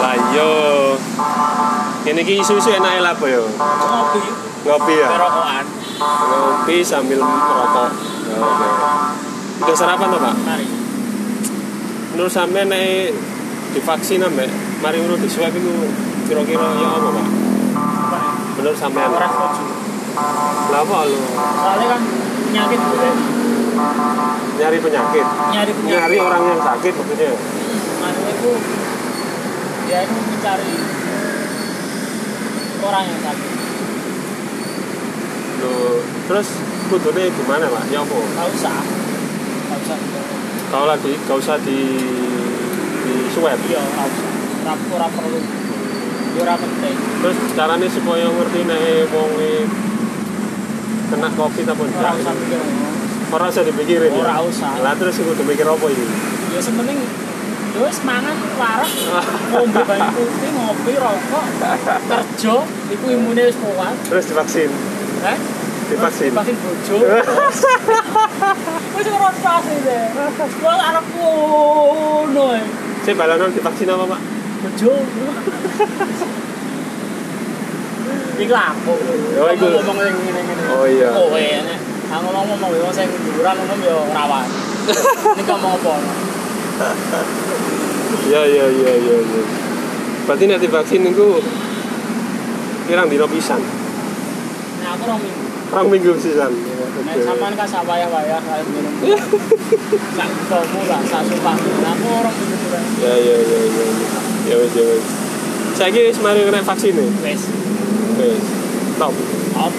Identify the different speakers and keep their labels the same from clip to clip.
Speaker 1: Lah yo. Ini ki isu-isu enak lah apa yo.
Speaker 2: Ngopi,
Speaker 1: Ngopi ya.
Speaker 2: perokokan,
Speaker 1: Ngopi sambil merokok. Ya, oke. Udah sarapan toh, Pak?
Speaker 2: mari.
Speaker 1: Menurut sampean nek divaksin ambek mari urut di swab itu kira-kira ya apa, Pak? Menurut sampean.
Speaker 2: Orang setuju.
Speaker 1: Lah apa lu
Speaker 2: Soalnya kan penyakit boleh
Speaker 1: nyari penyakit?
Speaker 2: nyari penyakit.
Speaker 1: Nyari orang yang sakit maksudnya.
Speaker 2: Anu itu dia itu mencari orang yang sakit.
Speaker 1: Loh, terus kudune gimana, Pak? Ya apa?
Speaker 2: Gak usah, gak usah. dijawab.
Speaker 1: Kau lagi gak usah di di swab.
Speaker 2: Iya, gak usah. Ora- Ora perlu, ora penting.
Speaker 1: Terus caranya supaya ngerti nek wong e kena covid apa
Speaker 2: Ora
Speaker 1: enggak.
Speaker 2: usah mikir.
Speaker 1: Ora usah dipikirin. ya?
Speaker 2: Ora usah.
Speaker 1: Lah terus iku kudu mikir apa iki?
Speaker 2: Ya sepenting Yo wis mangan waras, ngombe banyu putih, ngopi, rokok, kerja, iku imune wis kuat.
Speaker 1: Terus divaksin.
Speaker 2: Hah?
Speaker 1: Divaksin.
Speaker 2: Vaksin bojo. Wis ora vaksin deh. Wong arep ngono. eh.
Speaker 1: Saya balanan divaksin apa, Pak?
Speaker 2: Bojo. Iki lapo.
Speaker 1: Yo, Oh, iku.
Speaker 2: ngomong sing ngene-ngene.
Speaker 1: Oh, iya.
Speaker 2: Kowe ene. Aku ngomong mau wong sing duran ngono yo ora wani. Ini ngomong apa?
Speaker 1: Iya, iya, iya, iya, iya. Berarti nek divaksin niku pirang dina pisan?
Speaker 2: Nah, aku rong minggu.
Speaker 1: Rong minggu sisan.
Speaker 2: Nek
Speaker 1: Oke.
Speaker 2: sampean kan sak wayah-wayah kaya minum. Sak bomu lah, sak sumpah. Nah, Aku orang bener
Speaker 1: Ya, ya, ya, ya. ya. Ya wis, ya wis. Saiki wis mari kena vaksin ya.
Speaker 2: wis.
Speaker 1: Wis. Top.
Speaker 2: Op.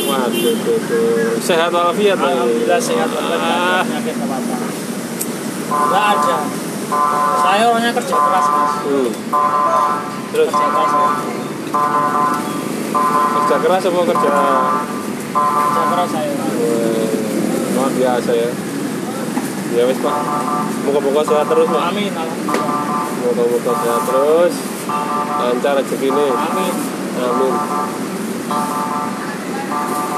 Speaker 1: Waduh, duh, duh. sehat walafiat. Pak.
Speaker 2: Alhamdulillah sehat Bapak.
Speaker 1: Ah,
Speaker 2: Penyakit apa-apa. Enggak ada. Saya orangnya kerja keras, Mas.
Speaker 1: hmm. Terus
Speaker 2: Kerja keras.
Speaker 1: kerja keras apa kerja?
Speaker 2: Kerja keras saya.
Speaker 1: Eh, Luar biasa ya. Ya wis pak. Muka-muka sehat terus pak.
Speaker 2: Amin. Alhamdulillah.
Speaker 1: Muka-muka sehat terus. Lancar rezeki ini.
Speaker 2: Amin.
Speaker 1: Amin.